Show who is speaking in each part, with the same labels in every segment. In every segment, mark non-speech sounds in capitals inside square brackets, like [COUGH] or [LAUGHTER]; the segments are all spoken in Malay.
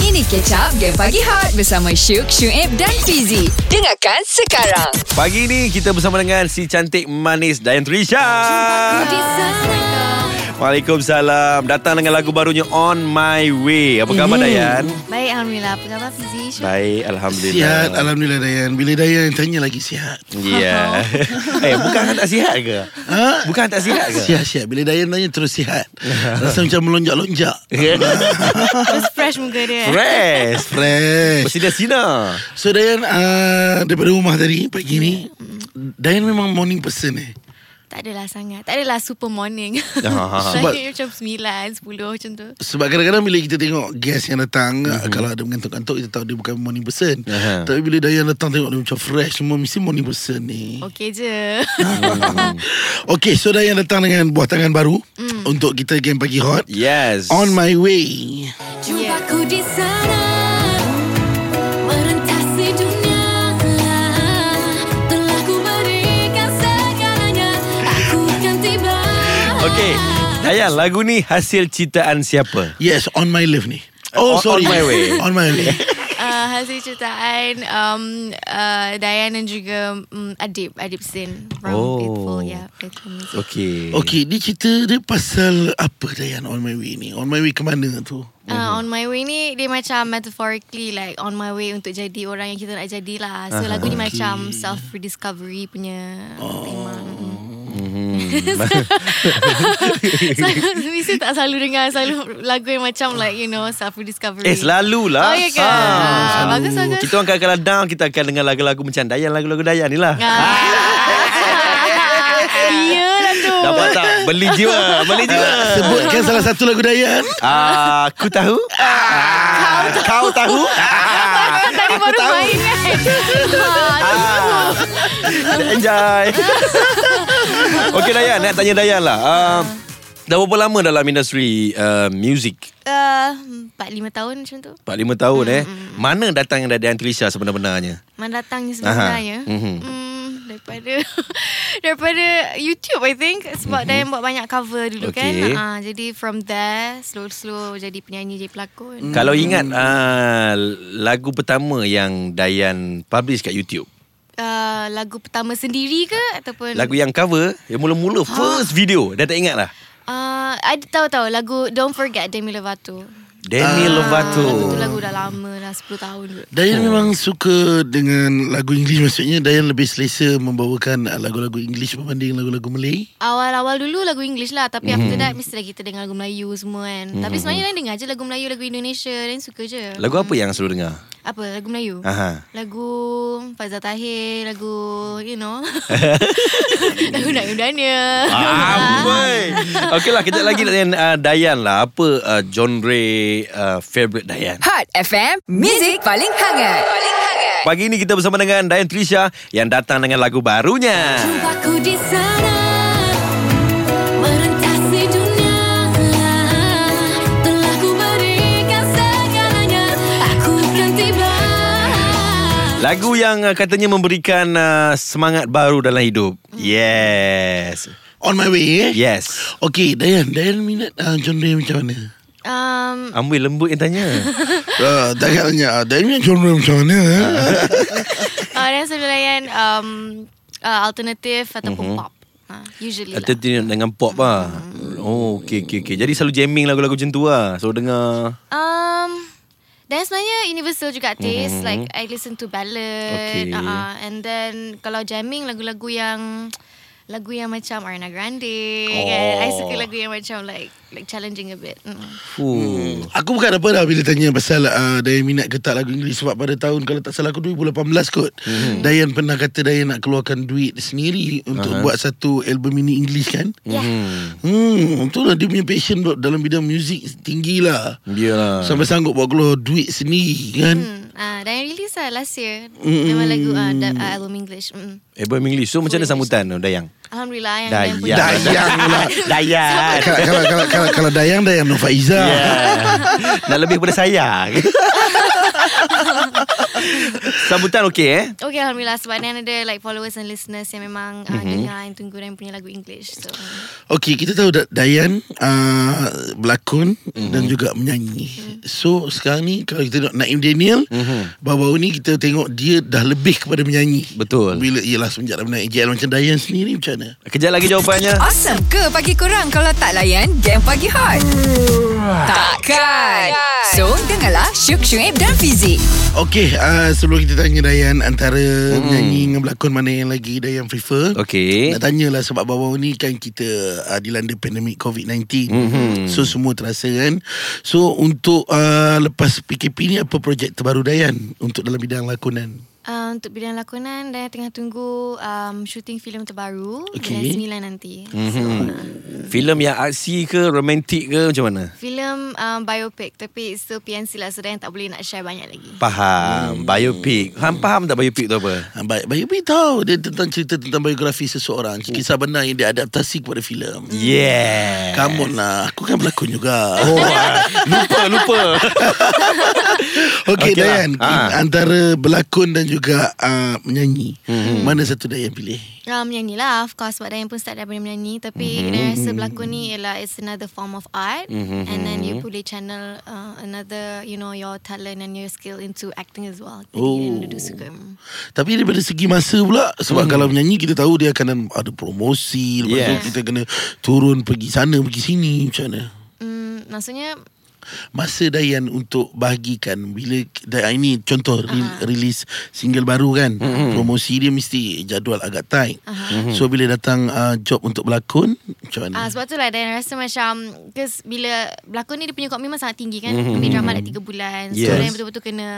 Speaker 1: Ini Catch Up Game Pagi Hot bersama Syuk, Syuib dan Fizi. Dengarkan sekarang.
Speaker 2: Pagi ni kita bersama dengan si cantik manis Dayan Trisha. Waalaikumsalam. Datang dengan lagu barunya On My Way. Apa khabar Dayan?
Speaker 3: Baik, Alhamdulillah. Apa khabar Fizi? Syuk?
Speaker 2: Baik,
Speaker 4: Sihat
Speaker 2: alhamdulillah.
Speaker 4: Alhamdulillah Dayan Bila Dayan tanya lagi sihat
Speaker 3: [LAUGHS]
Speaker 2: Ya. eh, bukan tak sihat ke?
Speaker 4: Ha?
Speaker 2: Bukan tak sihat ke?
Speaker 4: Sihat-sihat Bila Dayan tanya terus sihat Rasa macam melonjak-lonjak
Speaker 3: Terus fresh muka
Speaker 2: [LAUGHS]
Speaker 3: dia.
Speaker 2: Fresh.
Speaker 4: Fresh
Speaker 2: Bersina-sina.
Speaker 4: So Dayan uh, Daripada rumah tadi Pagi ni Dayan memang morning person eh
Speaker 3: Tak adalah sangat. Tak adalah super morning. [LAUGHS]
Speaker 2: Ah,
Speaker 4: sebab-
Speaker 3: Saya macam 9, 10 macam tu.
Speaker 4: sebab kadang-kadang bila kita tengok guest yang datang mm-hmm. Kalau ada mengantuk-antuk Kita tahu dia bukan morning person
Speaker 2: Aha.
Speaker 4: Tapi bila Dayan datang tengok dia macam fresh Semua mesti morning person ni
Speaker 3: Okey
Speaker 5: [LAUGHS]
Speaker 3: je.
Speaker 4: [LAUGHS] Okay so Dayan datang dengan buah tangan baru mm. Untuk kita game pagi hot
Speaker 2: Yes.
Speaker 4: On my way
Speaker 5: Jumpaku di sana Merentasi dunia Telah ku berikan segalanya Aku akan tiba
Speaker 2: Okay. Dayan, lagu ni hasil citaan siapa?
Speaker 4: Yes, on my live ni.
Speaker 2: On-
Speaker 4: Oh,
Speaker 2: on
Speaker 4: sorry.
Speaker 2: my way.
Speaker 4: [LAUGHS] on my way.
Speaker 3: Uh, hasil ceritaan um, uh, Dayan dan juga um, Adib. Adib Sin from
Speaker 2: Oh.
Speaker 3: Faithful. Yeah, Faithful Music.
Speaker 2: Okey.
Speaker 4: Okay, ni cerita dia pasal apa Dayan on my way ni? On my way ke mana tu?
Speaker 3: Uh, on my way ni Dia macam metaphorically Like on my way Untuk jadi orang yang kita nak jadi lah So lagu ni macam Self rediscovery punya Tema mm. [LAUGHS] Selalu Mesti tak selalu dengar Selalu lagu yang macam Like you know Self rediscovery
Speaker 2: Eh selalulah
Speaker 3: Oh, ya ke? Ah, bagus, bagus.
Speaker 2: Kita orang kadang-kadang down Kita akan dengar lagu-lagu macam Dayan Lagu-lagu Dayan ni lah
Speaker 3: Ah. Iyalah tu
Speaker 2: Dapat tak? Beli jiwa Beli jiwa
Speaker 4: Sebutkan salah satu lagu Dayan.
Speaker 2: Ah, Aku tahu Ah, Kau tahu Ah,
Speaker 3: Tadi baru main kan
Speaker 2: ah. Enjoy Okay Dayan Nak tanya Dayan lah Ah, Dah berapa lama dalam industri uh, music?
Speaker 3: Ah, Empat lima tahun macam tu
Speaker 2: 45 tahun eh
Speaker 3: Hmm,
Speaker 2: Mana datang Dayan Trisha sebenar-benarnya?
Speaker 3: Mana datangnya
Speaker 2: Aha.
Speaker 3: sebenarnya
Speaker 2: Mhm.
Speaker 3: hmm, Daripada [LAUGHS] Daripada YouTube I think Sebab Dayan buat banyak cover
Speaker 2: Mhm.
Speaker 3: dulu
Speaker 2: Okay.
Speaker 3: kan Ah, Jadi from there Slow-slow Jadi penyanyi Jadi pelakon
Speaker 2: Kalau ingat
Speaker 3: Hmm.
Speaker 2: uh, lagu pertama yang Dayan publish kat YouTube.
Speaker 3: Ah, Lagu pertama sendiri ke Ataupun
Speaker 2: Lagu yang cover, yang
Speaker 3: Ha.
Speaker 2: mula-mula first video. Dah tak ingat lah.
Speaker 3: Ah, Ada tahu-tahu Lagu Don't Forget Demi Lovato Uh,
Speaker 2: Demi Lovato.
Speaker 3: Ah, Lagu tu lagu dah lama dah 10 tahun dulu
Speaker 4: Dayan memang suka dengan lagu English maksudnya Dayan lebih selesa membawakan uh, lagu-lagu English berbanding lagu-lagu Malay.
Speaker 3: Awal-awal dulu lagu English lah Tapi after
Speaker 2: Mhm.
Speaker 3: that Mestilah kita dengar lagu Melayu semua kan Tapi sebenarnya Lain dengar je lagu Melayu Lagu Indonesia Lain suka je
Speaker 2: Lagu apa yang selalu dengar?
Speaker 3: Apa lagu Melayu?
Speaker 2: Aha.
Speaker 3: Lagu Fazal Tahir Lagu You know Lagu Naim Daniel [LAUGHS]
Speaker 2: Amboi. Okey lah, kejap lagi nak dengan uh, Dayan lah. Apa uh, genre uh, favourite Dayan?
Speaker 1: Hot FM, Music paling hangat. Paling hangat.
Speaker 2: Pagi ni kita bersama dengan Dayan Trisha yang datang dengan lagu barunya.
Speaker 5: Jumpaku di sana Merentasi dunia Telah ku berikan segalanya Aku akan tiba
Speaker 2: Lagu yang uh, katanya memberikan uh, semangat baru dalam hidup.
Speaker 3: Hmm.
Speaker 2: Yes.
Speaker 4: On my way eh.
Speaker 2: Yes.
Speaker 4: Okay, Dayan, Dayan minat uh, genre macam [LAUGHS] mana?
Speaker 3: um,
Speaker 2: Amboi lembut yang
Speaker 3: [LAUGHS]
Speaker 2: tanya.
Speaker 4: Uh, Dayan tanya, Dayan minat genre macam mana? eh? [LAUGHS]
Speaker 3: uh, Dan selalu layan um, uh, Alternative Ataupun pop uh, Usually lah
Speaker 2: Atau tu dengan pop lah
Speaker 3: Hmm.
Speaker 2: Oh okay, okay, okay. Jadi selalu jamming lagu-lagu macam tu lah Selalu dengar
Speaker 3: Um, dan sebenarnya universal juga taste. Mm-hmm. Like I listen to ballad.
Speaker 2: Okay.
Speaker 3: Uh, and then kalau jamming lagu-lagu yang lagu yang macam Ariana Grande. Oh. Kan? I suka lagu yang macam like like challenging a bit. Mm.
Speaker 2: Fuh.
Speaker 4: Hmm. Aku bukan apa dah bila tanya pasal uh, Dayan minat ke tak lagu Inggeris sebab pada tahun kalau tak salah aku 2018 kot. Hmm. Dayan pernah kata Dayan nak keluarkan duit sendiri untuk uh-huh. buat satu album mini English kan.
Speaker 2: Mhm.
Speaker 3: Yeah.
Speaker 4: Hmm, itulah dia punya passion dok dalam bidang muzik tinggi lah.
Speaker 2: Biarlah
Speaker 4: Sampai sanggup buat keluar duit sendiri kan.
Speaker 3: Mm. Uh, dan yang release lah last year. Mm. Memang lagu uh, da- uh, album English. Mm.
Speaker 2: Album English So macam mana sambutan tu, Dayang?
Speaker 3: Alhamdulillah yang
Speaker 2: Dayang
Speaker 3: yang punya-
Speaker 4: Dayang lah.
Speaker 2: [LAUGHS] Dayang Ya.
Speaker 4: Kalau, kalau, kalau, kalau, kalau Dayang Dayang Ya. [LAUGHS] Nova Iza.
Speaker 2: yeah. Nak lebih daripada saya [LAUGHS] Sambutan okey eh?
Speaker 3: Okay Alhamdulillah Sebab Nan ada like followers and listeners Yang memang mm-hmm. uh, dengar and tunggu Dan punya lagu English So mm.
Speaker 4: Okey, kita tahu Da- Dayan uh, berlakon mm-hmm. dan juga menyanyi. So sekarang ni kalau kita tengok Naim Daniel, mm-hmm. baru-baru ni kita tengok dia dah lebih kepada menyanyi.
Speaker 2: Betul.
Speaker 4: Bila ialah semenjak dah menaik JL macam Dayan sendiri macam mana?
Speaker 2: Kejap lagi jawapannya.
Speaker 1: Awesome ke pagi kurang kalau tak layan game pagi hot? Takkan. So, dengarlah Syuk Syuib dan Fizik.
Speaker 4: Okey, uh, sebelum kita tanya Dayan antara mm. menyanyi dengan berlakon mana yang lagi Dayan prefer?
Speaker 2: Okey.
Speaker 4: Nak tanyalah sebab baru-baru ni kan kita uh, dilanda pandemik COVID-19. Mm-hmm.
Speaker 2: Mhm.
Speaker 4: So semua terasa kan. So untuk uh, lepas PKP ni apa projek terbaru Dayan untuk dalam bidang lakonan?
Speaker 3: uh, Untuk bidang lakonan Dan tengah tunggu um, Shooting filem terbaru
Speaker 4: Okay.
Speaker 3: Bulan 9 nanti mm-hmm.
Speaker 2: Filem yang aksi ke romantik ke macam mana?
Speaker 3: Filem um, biopic Tapi still PNC lah So Dayan tak boleh nak share banyak lagi
Speaker 4: Hmm.
Speaker 2: Faham. Biopic. Hang faham tak biopic tu apa?
Speaker 4: Ah, Baik, baik Baik tahu dia tentang cerita tentang biografi seseorang.
Speaker 2: Oh.
Speaker 4: Kisah benar yang diadaptasi kepada filem.
Speaker 2: Yeah.
Speaker 4: Come on lah, aku kan berlakon juga.
Speaker 2: Oh, [LAUGHS] lupa, lupa.
Speaker 4: [LAUGHS]
Speaker 2: Okey
Speaker 4: Okey okay
Speaker 2: lah.
Speaker 4: Dayan,
Speaker 2: Ha.
Speaker 4: antara berlakon dan juga uh, menyanyi,
Speaker 2: Mhm.
Speaker 4: hmm. mana satu Dayan pilih?
Speaker 3: um, Menyanyi lah Of course Sebab Dayan pun start daripada menyanyi Tapi mm-hmm. Dayan rasa berlakon ni Ialah it's another form of art mm-hmm. And then you boleh channel uh, Another You know Your talent and your skill Into acting as well Jadi
Speaker 4: Oh.
Speaker 3: Dayan duduk suka
Speaker 4: Tapi daripada segi masa pula Sebab hmm. kalau menyanyi kita tahu dia akan ada promosi Lepas
Speaker 2: Yes.
Speaker 4: tu kita kena turun pergi sana pergi sini Macam mana?
Speaker 3: mm, Maksudnya
Speaker 4: Masa Dayan untuk bahagikan Bila Dayan ini contoh uh-huh. rilis single baru kan hmm. Promosi dia mesti jadual agak tight uh-huh.
Speaker 2: Hmm.
Speaker 4: So bila datang uh, job untuk berlakon Macam
Speaker 3: Ah,
Speaker 4: mana?
Speaker 3: sebab tu lah Dan rasa macam Cause bila Berlakon ni dia punya komitmen sangat tinggi kan mm-hmm. Ambil drama dah 3 bulan yes. So
Speaker 2: Hmm. Yes.
Speaker 3: Dan betul-betul kena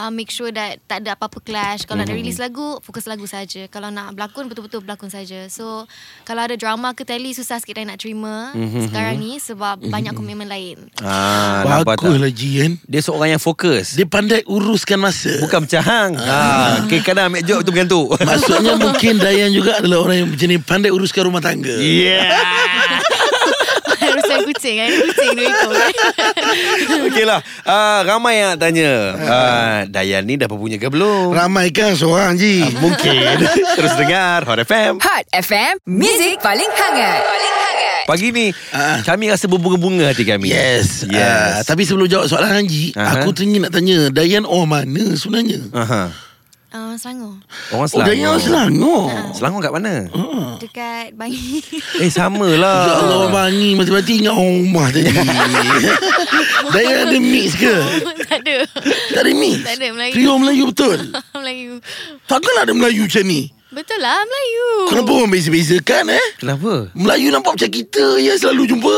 Speaker 3: uh, Make sure that Tak ada apa-apa clash Kalau mm-hmm.
Speaker 2: Hmm.
Speaker 3: nak release lagu Fokus lagu saja. Kalau nak berlakon Betul-betul berlakon saja. So Kalau ada drama ke tele Susah sikit Dan nak terima
Speaker 2: Hmm,
Speaker 3: mm-hmm. Sekarang ni Sebab mm-hmm. banyak komitmen lain [LAUGHS]
Speaker 2: Ah, nampak
Speaker 4: Bagus
Speaker 2: tak?
Speaker 4: lah Jian
Speaker 2: Dia seorang yang fokus. Dia
Speaker 4: Dia pandai uruskan masa
Speaker 2: bukan macam hang. Ah, kadang-kadang ambil job tu bukan
Speaker 4: [LAUGHS]
Speaker 2: tu.
Speaker 4: Maksudnya mungkin Dayan juga adalah orang yang jenis pandai uruskan rumah tangga.
Speaker 2: Yeah.
Speaker 3: Urusan kucing kan Kucing dua ekor [LAUGHS]
Speaker 2: Okey lah. Ah, ramai yang nak tanya. Ah, Dayan ni dah berpunya ke belum?
Speaker 4: Ramai kan seorang je.
Speaker 2: Ah,
Speaker 4: [LAUGHS]
Speaker 2: Mungkin. Terus dengar Hot FM.
Speaker 1: Hot FM, Music paling hangat. Paling hangat.
Speaker 2: Pagi ni
Speaker 4: Ah.
Speaker 2: kami rasa berbunga-bunga hati kami.
Speaker 4: Yes. yes. Uh,
Speaker 2: Yes.
Speaker 4: tapi sebelum jawab soalan Haji,
Speaker 2: Aha.
Speaker 4: aku teringin nak tanya Dayan orang mana sebenarnya?
Speaker 2: Aha.
Speaker 3: uh, Selangor
Speaker 2: Orang
Speaker 4: Oh,
Speaker 2: Selangor.
Speaker 4: Dayan orang Selangor.
Speaker 2: Selangor kat mana? Ha.
Speaker 3: Dekat Bangi [LAUGHS]
Speaker 2: Eh sama lah.
Speaker 3: Ah.
Speaker 4: Ya Allah orang Bangi Mati-mati ingat orang rumah
Speaker 2: [LAUGHS]
Speaker 4: tadi Dayan ada mix ke?
Speaker 3: Tak ada
Speaker 4: Tak ada mix?
Speaker 3: Tak ada, Melayu.
Speaker 4: Trio Melayu betul?
Speaker 3: Melayu
Speaker 4: Takkan ada Melayu macam ni?
Speaker 3: Betul lah Melayu
Speaker 4: Kenapa orang beza-bezakan eh?
Speaker 2: Kenapa?
Speaker 4: Melayu nampak macam kita yang selalu jumpa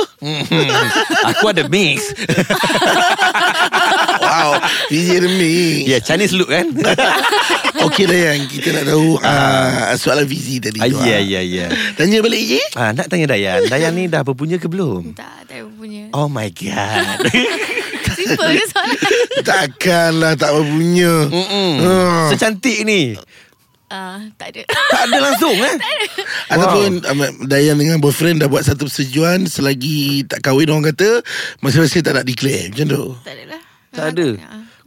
Speaker 2: Aku ada
Speaker 4: [LAUGHS]
Speaker 2: mix.
Speaker 4: Wow DJ Demi
Speaker 2: Ya, yeah, Chinese look
Speaker 4: [LAUGHS]
Speaker 2: kan?
Speaker 4: Okey Dayan Kita nak tahu uh, Soalan Fizi tadi
Speaker 2: Ah,
Speaker 4: tu
Speaker 2: ya,
Speaker 4: ah.
Speaker 2: ya, ya.
Speaker 4: Tanya balik je
Speaker 2: Ah, nak tanya Dayan. Dayan ni dah berpunya ke belum?
Speaker 3: Tak, tak punya
Speaker 2: Oh my god.
Speaker 3: Simple ke soalan
Speaker 2: [LAUGHS]
Speaker 4: Takkanlah tak berpunya
Speaker 2: Mm-mm.
Speaker 4: Ah.
Speaker 2: Hmm. Secantik ni.
Speaker 3: Ah, tak ada.
Speaker 2: Tak ada langsung eh?
Speaker 4: Ataupun um, Dayan dengan boyfriend Dah buat satu persetujuan Selagi tak kahwin Orang kata Masing-masing tak nak declare Macam tu
Speaker 3: tak ada lah.
Speaker 2: Ah, Tak ada.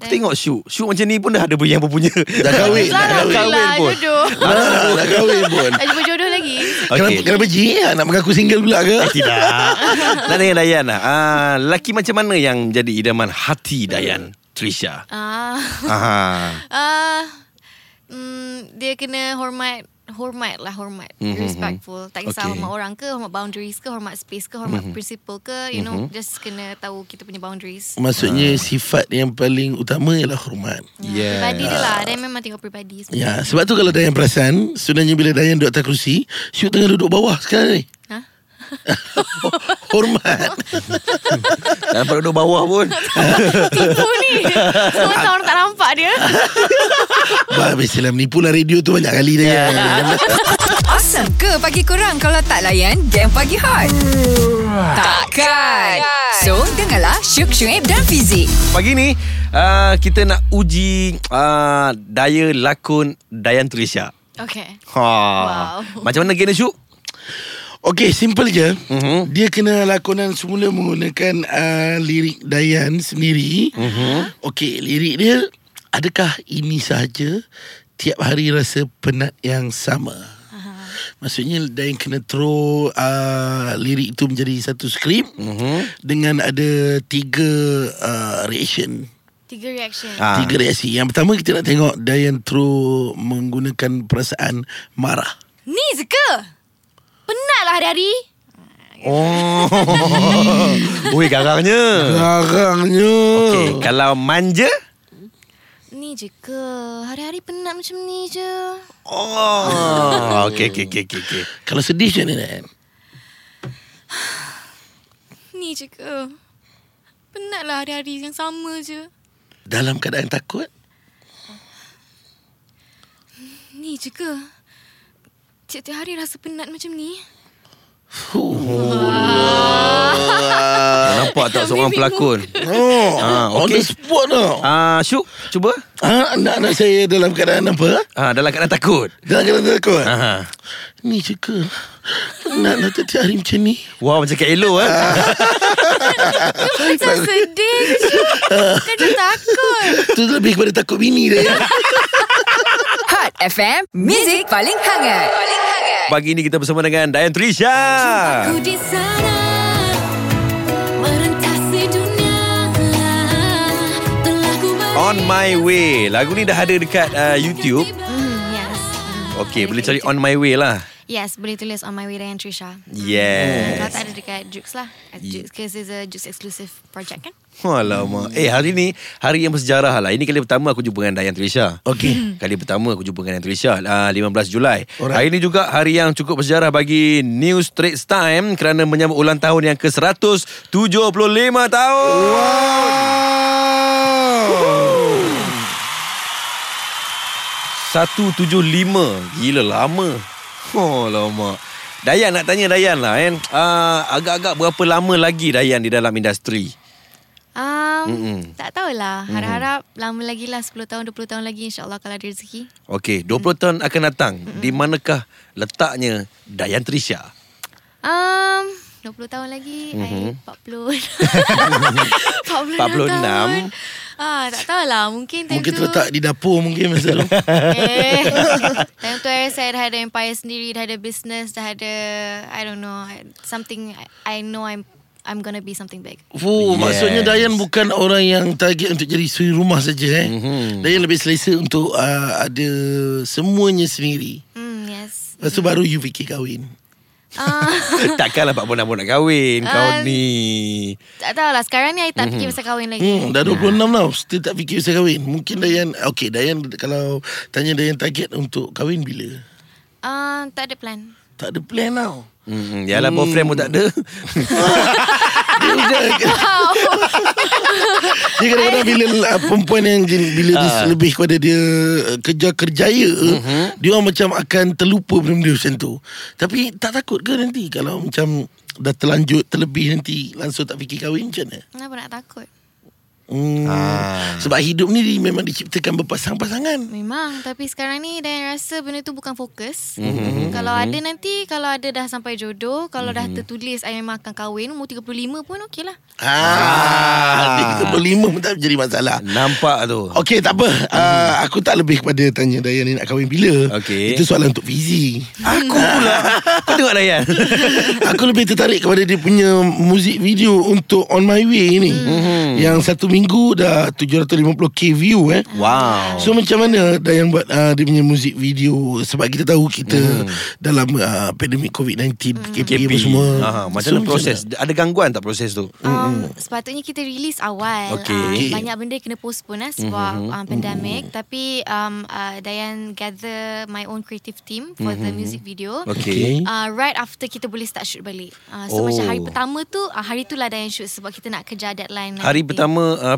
Speaker 2: Kau
Speaker 3: Ah.
Speaker 2: tengok Syuk. Syuk macam ni pun dah ada yang berpunya.
Speaker 4: Dah kahwin
Speaker 3: Selamat
Speaker 4: Dah kahwin
Speaker 2: kahwin
Speaker 3: kahwin
Speaker 2: pun.
Speaker 3: pun.
Speaker 2: [LAUGHS]
Speaker 3: Jodoh.
Speaker 4: Ah, Dah kahwin pun
Speaker 3: Nak jumpa jodoh lagi.
Speaker 4: Kenapa,
Speaker 2: Okey.
Speaker 4: kenapa Ji Ah, Nak mengaku single pula ke
Speaker 2: Tidak. Nak tanya Dayan lah. Ah, lelaki macam mana yang jadi idaman hati Dayan? Trisha.
Speaker 3: Ah. [LAUGHS]
Speaker 2: Aha.
Speaker 3: Ah. Mm, dia kena hormat hormat lah hormat mm-hmm. respectful tak kisah
Speaker 2: Hmm, Okay. Hmm,
Speaker 3: okay. hormat orang ke hormat boundaries ke hormat space ke hormat mm-hmm. principle ke you know mm-hmm. just kena tahu kita punya boundaries
Speaker 2: Hmm,
Speaker 4: Maksudnya sifat yang paling utama Ialah hormat
Speaker 2: Yeah.
Speaker 3: pribadi dia lah dia memang tengok pribadi sebenarnya
Speaker 4: Ya, sebab tu kalau Dayan perasan, sebenarnya bila Dayan duduk atas kerusi, Syuk tengah duduk bawah sekarang ni.
Speaker 3: Ha?
Speaker 4: [LAUGHS] Hormat.
Speaker 2: Dan pada duduk bawah pun.
Speaker 3: tipu ni semua tahu orang tak nampak
Speaker 2: [LAUGHS]
Speaker 3: dia
Speaker 4: Bah, biasalah menipu lah radio tu banyak kali Dayan.
Speaker 1: Awesome ke pagi kurang kalau tak layan game pagi hot? Takkan. So, dengarlah Syuk Syuib dan Fizik.
Speaker 2: [LAUGHS] Pagi ni uh, kita nak uji uh, daya lakon Dayan Trisha.
Speaker 3: okay
Speaker 2: Ha.
Speaker 3: Wow.
Speaker 2: Macam mana kena Syuk?
Speaker 4: Okey, simple je.
Speaker 2: Mhm.
Speaker 4: Dia kena lakonan semula ah,
Speaker 2: Mhm.
Speaker 4: menggunakan uh, lirik Dayan sendiri. Okey, lirik dia adakah ini sahaja tiap hari rasa penat yang sama? Maksudnya Dayan kena throw uh, lirik itu menjadi satu skrip
Speaker 2: Mhm.
Speaker 4: dengan ada tiga uh, reaction.
Speaker 3: Tiga reaction.
Speaker 2: Ah.
Speaker 4: Tiga reaksi. Yang pertama kita nak tengok Dayan throw menggunakan perasaan marah.
Speaker 3: Ni Zeka. Penatlah lah hari-hari.
Speaker 2: Oh. [LAUGHS] Ui garangnya.
Speaker 4: Garangnya.
Speaker 2: Okey,
Speaker 4: Oh.
Speaker 2: kalau manja?
Speaker 3: Ni je ke? Hari-hari penat macam ni je.
Speaker 2: Oh. Okey okey okey okey. okey.
Speaker 4: Kalau sedih macam mana Dan?
Speaker 3: Ni je ke? Penatlah hari-hari yang sama je.
Speaker 4: Dalam keadaan takut
Speaker 3: Ni je ke? Tiap-tiap hari rasa penat macam ni.
Speaker 2: Tak nampak tak seorang pelakon?
Speaker 4: Oh,
Speaker 2: Ah,
Speaker 4: on
Speaker 2: okey.
Speaker 4: the spot tau.
Speaker 2: Ah, Syuk, cuba.
Speaker 4: Ah, anak-anak saya dalam keadaan apa?
Speaker 2: Ah, dalam keadaan takut.
Speaker 4: Dalam keadaan takut.
Speaker 2: Ah.
Speaker 4: Ni je ke? Nak nak tiap hari macam ni.
Speaker 2: Wow, macam Kak Elo eh.
Speaker 3: Macam sedih je. Kan macam takut.
Speaker 4: Tu lebih kepada takut bini dia. ya.
Speaker 2: Ah.
Speaker 1: Hot FM, Music paling hangat. Paling hangat.
Speaker 2: Pagi ni kita bersama dengan Dayan Trisha.
Speaker 5: Ku di sana merentasi dunia telah ku
Speaker 2: On My Way. Lagu ni dah ada dekat uh, YouTube.
Speaker 3: Hmm, yes.
Speaker 2: Okey, boleh cari On My Way lah.
Speaker 3: Yes, boleh tulis on my way dengan Trisha. Kalau
Speaker 2: Yes.
Speaker 3: tak ada dekat Jukes lah. Jukes, because it's a Jukes exclusive project kan?
Speaker 2: Alamak. Eh, hari ni hari yang bersejarah lah. Ini kali pertama aku jumpa dengan Dayan Trisha.
Speaker 4: Okey.
Speaker 2: Kali pertama aku jumpa dengan Dayan Trisha uh, 15 Julai.
Speaker 4: Alright.
Speaker 2: Hari ini juga hari yang cukup bersejarah bagi New Straits Time kerana menyambut ulang tahun yang ke-175 tahun. Wow. 175 Gila lama Oh lama Dayan nak tanya Dayan lah kan uh, Agak-agak berapa lama lagi Dayan di dalam industri
Speaker 3: Um,
Speaker 2: Mm-mm.
Speaker 3: Tak tahulah. Harap-harap lama lagi lah. 10 tahun, 20 tahun lagi insyaAllah kalau ada rezeki.
Speaker 2: Okey 20 tahun akan datang Di manakah letaknya Dayan Trisha
Speaker 3: Um, 20 tahun lagi. Mm-hmm.
Speaker 4: Mhm. [LAUGHS]
Speaker 3: I
Speaker 2: 46.
Speaker 3: 40. 46 tahun. Ah, tak tahulah. Mungkin time
Speaker 4: Mungkin
Speaker 3: tu.
Speaker 4: terletak di dapur mungkin
Speaker 2: [LAUGHS]
Speaker 4: masa tu.
Speaker 3: [LAUGHS] Eh, time tu eh, saya dah ada empire sendiri. Dah ada business. Dah ada, I don't know. Something I, I know I'm I'm gonna be something big.
Speaker 4: Fuh, yes.
Speaker 2: Yes.
Speaker 4: maksudnya Dayan bukan orang yang target untuk jadi suri rumah saja eh.
Speaker 2: Mhm.
Speaker 4: Mm-hmm. Dayan lebih selesa untuk uh, ada semuanya sendiri.
Speaker 3: Hmm, yes.
Speaker 4: Lepas tu baru you fikir kahwin.
Speaker 3: Ah, [LAUGHS]
Speaker 2: Eh, Takkanlah Pak Bonabo nak kahwin Kau
Speaker 3: Ah.
Speaker 2: ni
Speaker 3: tak tahulah. Sekarang ni I tak fikir pasal kahwin lagi.
Speaker 4: Mhm. Hmm, dah 26 tau, still tak fikir pasal kahwin. Mungkin Dayan, okay Dayan kalau tanya Dayan target untuk kahwin bila?
Speaker 3: Ah, tak ada plan.
Speaker 4: Tak ada plan tau.
Speaker 2: Hmm, yalah hmm. boyfriend pun tak ada
Speaker 4: Dia macam- Dia kadang-kadang bila uh, perempuan yang jen- bila dia
Speaker 2: Ah.
Speaker 4: lebih kepada dia uh, kerja kerjaya, uh-huh. dia orang macam akan terlupa benda-benda macam tu. Tapi tak takut ke nanti kalau macam dah terlanjut terlebih nanti langsung tak fikir kahwin macam mana?
Speaker 3: Kenapa nak takut?
Speaker 4: Hmm.
Speaker 2: Ah.
Speaker 4: Sebab hidup ni dia memang diciptakan berpasang-pasangan.
Speaker 3: Memang Tapi sekarang ni Dan rasa benda tu bukan fokus mm-hmm. Kalau ada nanti Kalau ada dah sampai jodoh Kalau mm-hmm. dah tertulis I memang akan kahwin Umur 35 pun okey lah
Speaker 4: Ah, ah. kita berlima pun tak jadi masalah.
Speaker 2: Nampak tu
Speaker 4: Okey tak apa uh, Aku tak lebih kepada Tanya Dayan ni nak kahwin bila
Speaker 2: Okey.
Speaker 4: Itu soalan
Speaker 2: [LAUGHS]
Speaker 4: untuk Fizi
Speaker 2: Aku pula Kau tengok lah, Dayan
Speaker 4: Aku lebih tertarik kepada dia punya Muzik video untuk On My Way ni
Speaker 2: Mhm.
Speaker 4: mm-hmm. Yang satu minggu dah 750k view eh
Speaker 2: Wow
Speaker 4: So macam mana Dayan buat uh, dia punya muzik video Sebab kita tahu kita
Speaker 2: Mhm.
Speaker 4: dalam uh, pandemik COVID-19 KP, apa semua
Speaker 2: ha, Macam mana proses Ada gangguan tak proses tu
Speaker 3: um, Sepatutnya kita release awal
Speaker 2: Okey.
Speaker 3: Ah,
Speaker 4: Okey.
Speaker 3: Banyak benda kena postpone lah Sebab mm-hmm. um, pandemik Tapi um, uh, Dayan gather My own creative team For mm-hmm. the music video
Speaker 2: Okey.
Speaker 3: uh, right after kita boleh start shoot balik. Uh,
Speaker 2: Oh.
Speaker 3: so oh. macam hari pertama tu, uh, hari tu lah Dayan shoot sebab kita nak kejar deadline.
Speaker 2: Hari pertama uh,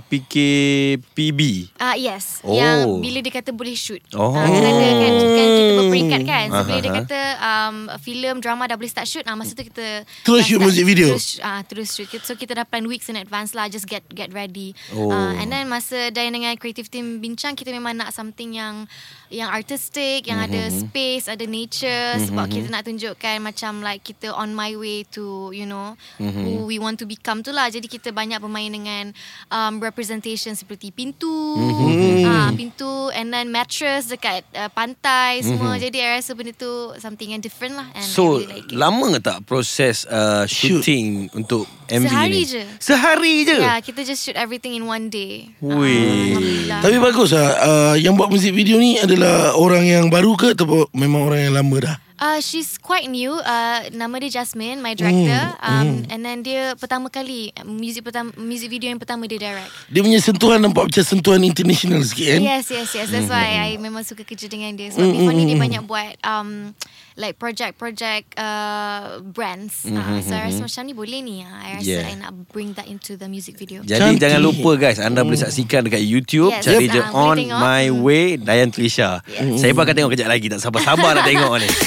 Speaker 2: PKPB
Speaker 3: Ah uh, yes,
Speaker 2: Oh.
Speaker 3: oh. yang bila dia kata boleh shoot.
Speaker 2: Oh.
Speaker 3: Ah, kerana kan, kan kita berperingkat kan. So bila dia
Speaker 2: Aha.
Speaker 3: kata um, filem drama dah boleh start shoot, ah masa tu kita
Speaker 4: Terus
Speaker 3: dah
Speaker 4: shoot
Speaker 3: start-
Speaker 4: music video?
Speaker 3: Terus ah terus shoot. So kita dah plan weeks in advance lah just get get ready.
Speaker 2: Oh.
Speaker 3: Ah, and then masa Dayan dengan creative team bincang kita memang nak something yang yang artistic, yang mm-hmm. ada space, ada nature mm-hmm. sebab kita nak tunjukkan macam like kita on my way to you know mm-hmm. who we want to become tu lah. Jadi kita banyak bermain dengan um, representation seperti pintu, mm-hmm. ah pintu and then mattress dekat uh, pantai semua. Mm-hmm. Jadi I rasa benda tu something yang different lah and
Speaker 2: So
Speaker 3: I really like it.
Speaker 2: lama tak proses uh, shooting untuk MV
Speaker 3: Sehari
Speaker 2: ni?
Speaker 3: je.
Speaker 2: Sehari je.
Speaker 3: Yeah, kita just shoot everything in one day.
Speaker 2: Wih.
Speaker 3: Alhamdulillah.
Speaker 4: Tapi bagus lah uh, Yang buat muzik video ni Adalah orang yang baru ke Atau memang orang yang lama dah
Speaker 3: Uh, she's quite new. Uh, nama dia Jasmine, my
Speaker 2: Mm,
Speaker 3: director. Um, And then dia pertama kali uh, music pertama music video yang pertama dia direct.
Speaker 4: Dia punya sentuhan Nampak macam sentuhan international sikit kan
Speaker 3: Yes, yes, yes. That's
Speaker 2: Mm-hmm.
Speaker 3: why I memang suka kerja dengan
Speaker 2: Mm,
Speaker 3: dia. Sebab before ni dia banyak buat um, like project-project uh, brands. Uh, so I rasa macam ni boleh ni. Uh. I rasa
Speaker 2: Mm-hmm, Yeah.
Speaker 3: I nak bring that into the music video.
Speaker 2: Jadi
Speaker 4: Cantik.
Speaker 2: jangan lupa guys Anda boleh saksikan dekat YouTube
Speaker 3: Yes,
Speaker 2: Cari
Speaker 3: yes,
Speaker 2: je
Speaker 3: ah, boleh
Speaker 2: On
Speaker 3: tengok.
Speaker 2: My Way Dayan Trisha Saya pun akan tengok kejap lagi Tak sabar-sabar nak tengok ni
Speaker 3: [LAUGHS]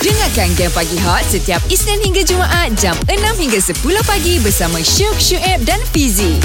Speaker 1: Dengarkan Game Pagi Hot setiap Isnin hingga Jumaat jam 6 hingga 10 pagi bersama Syuk, Syuib dan Fizi.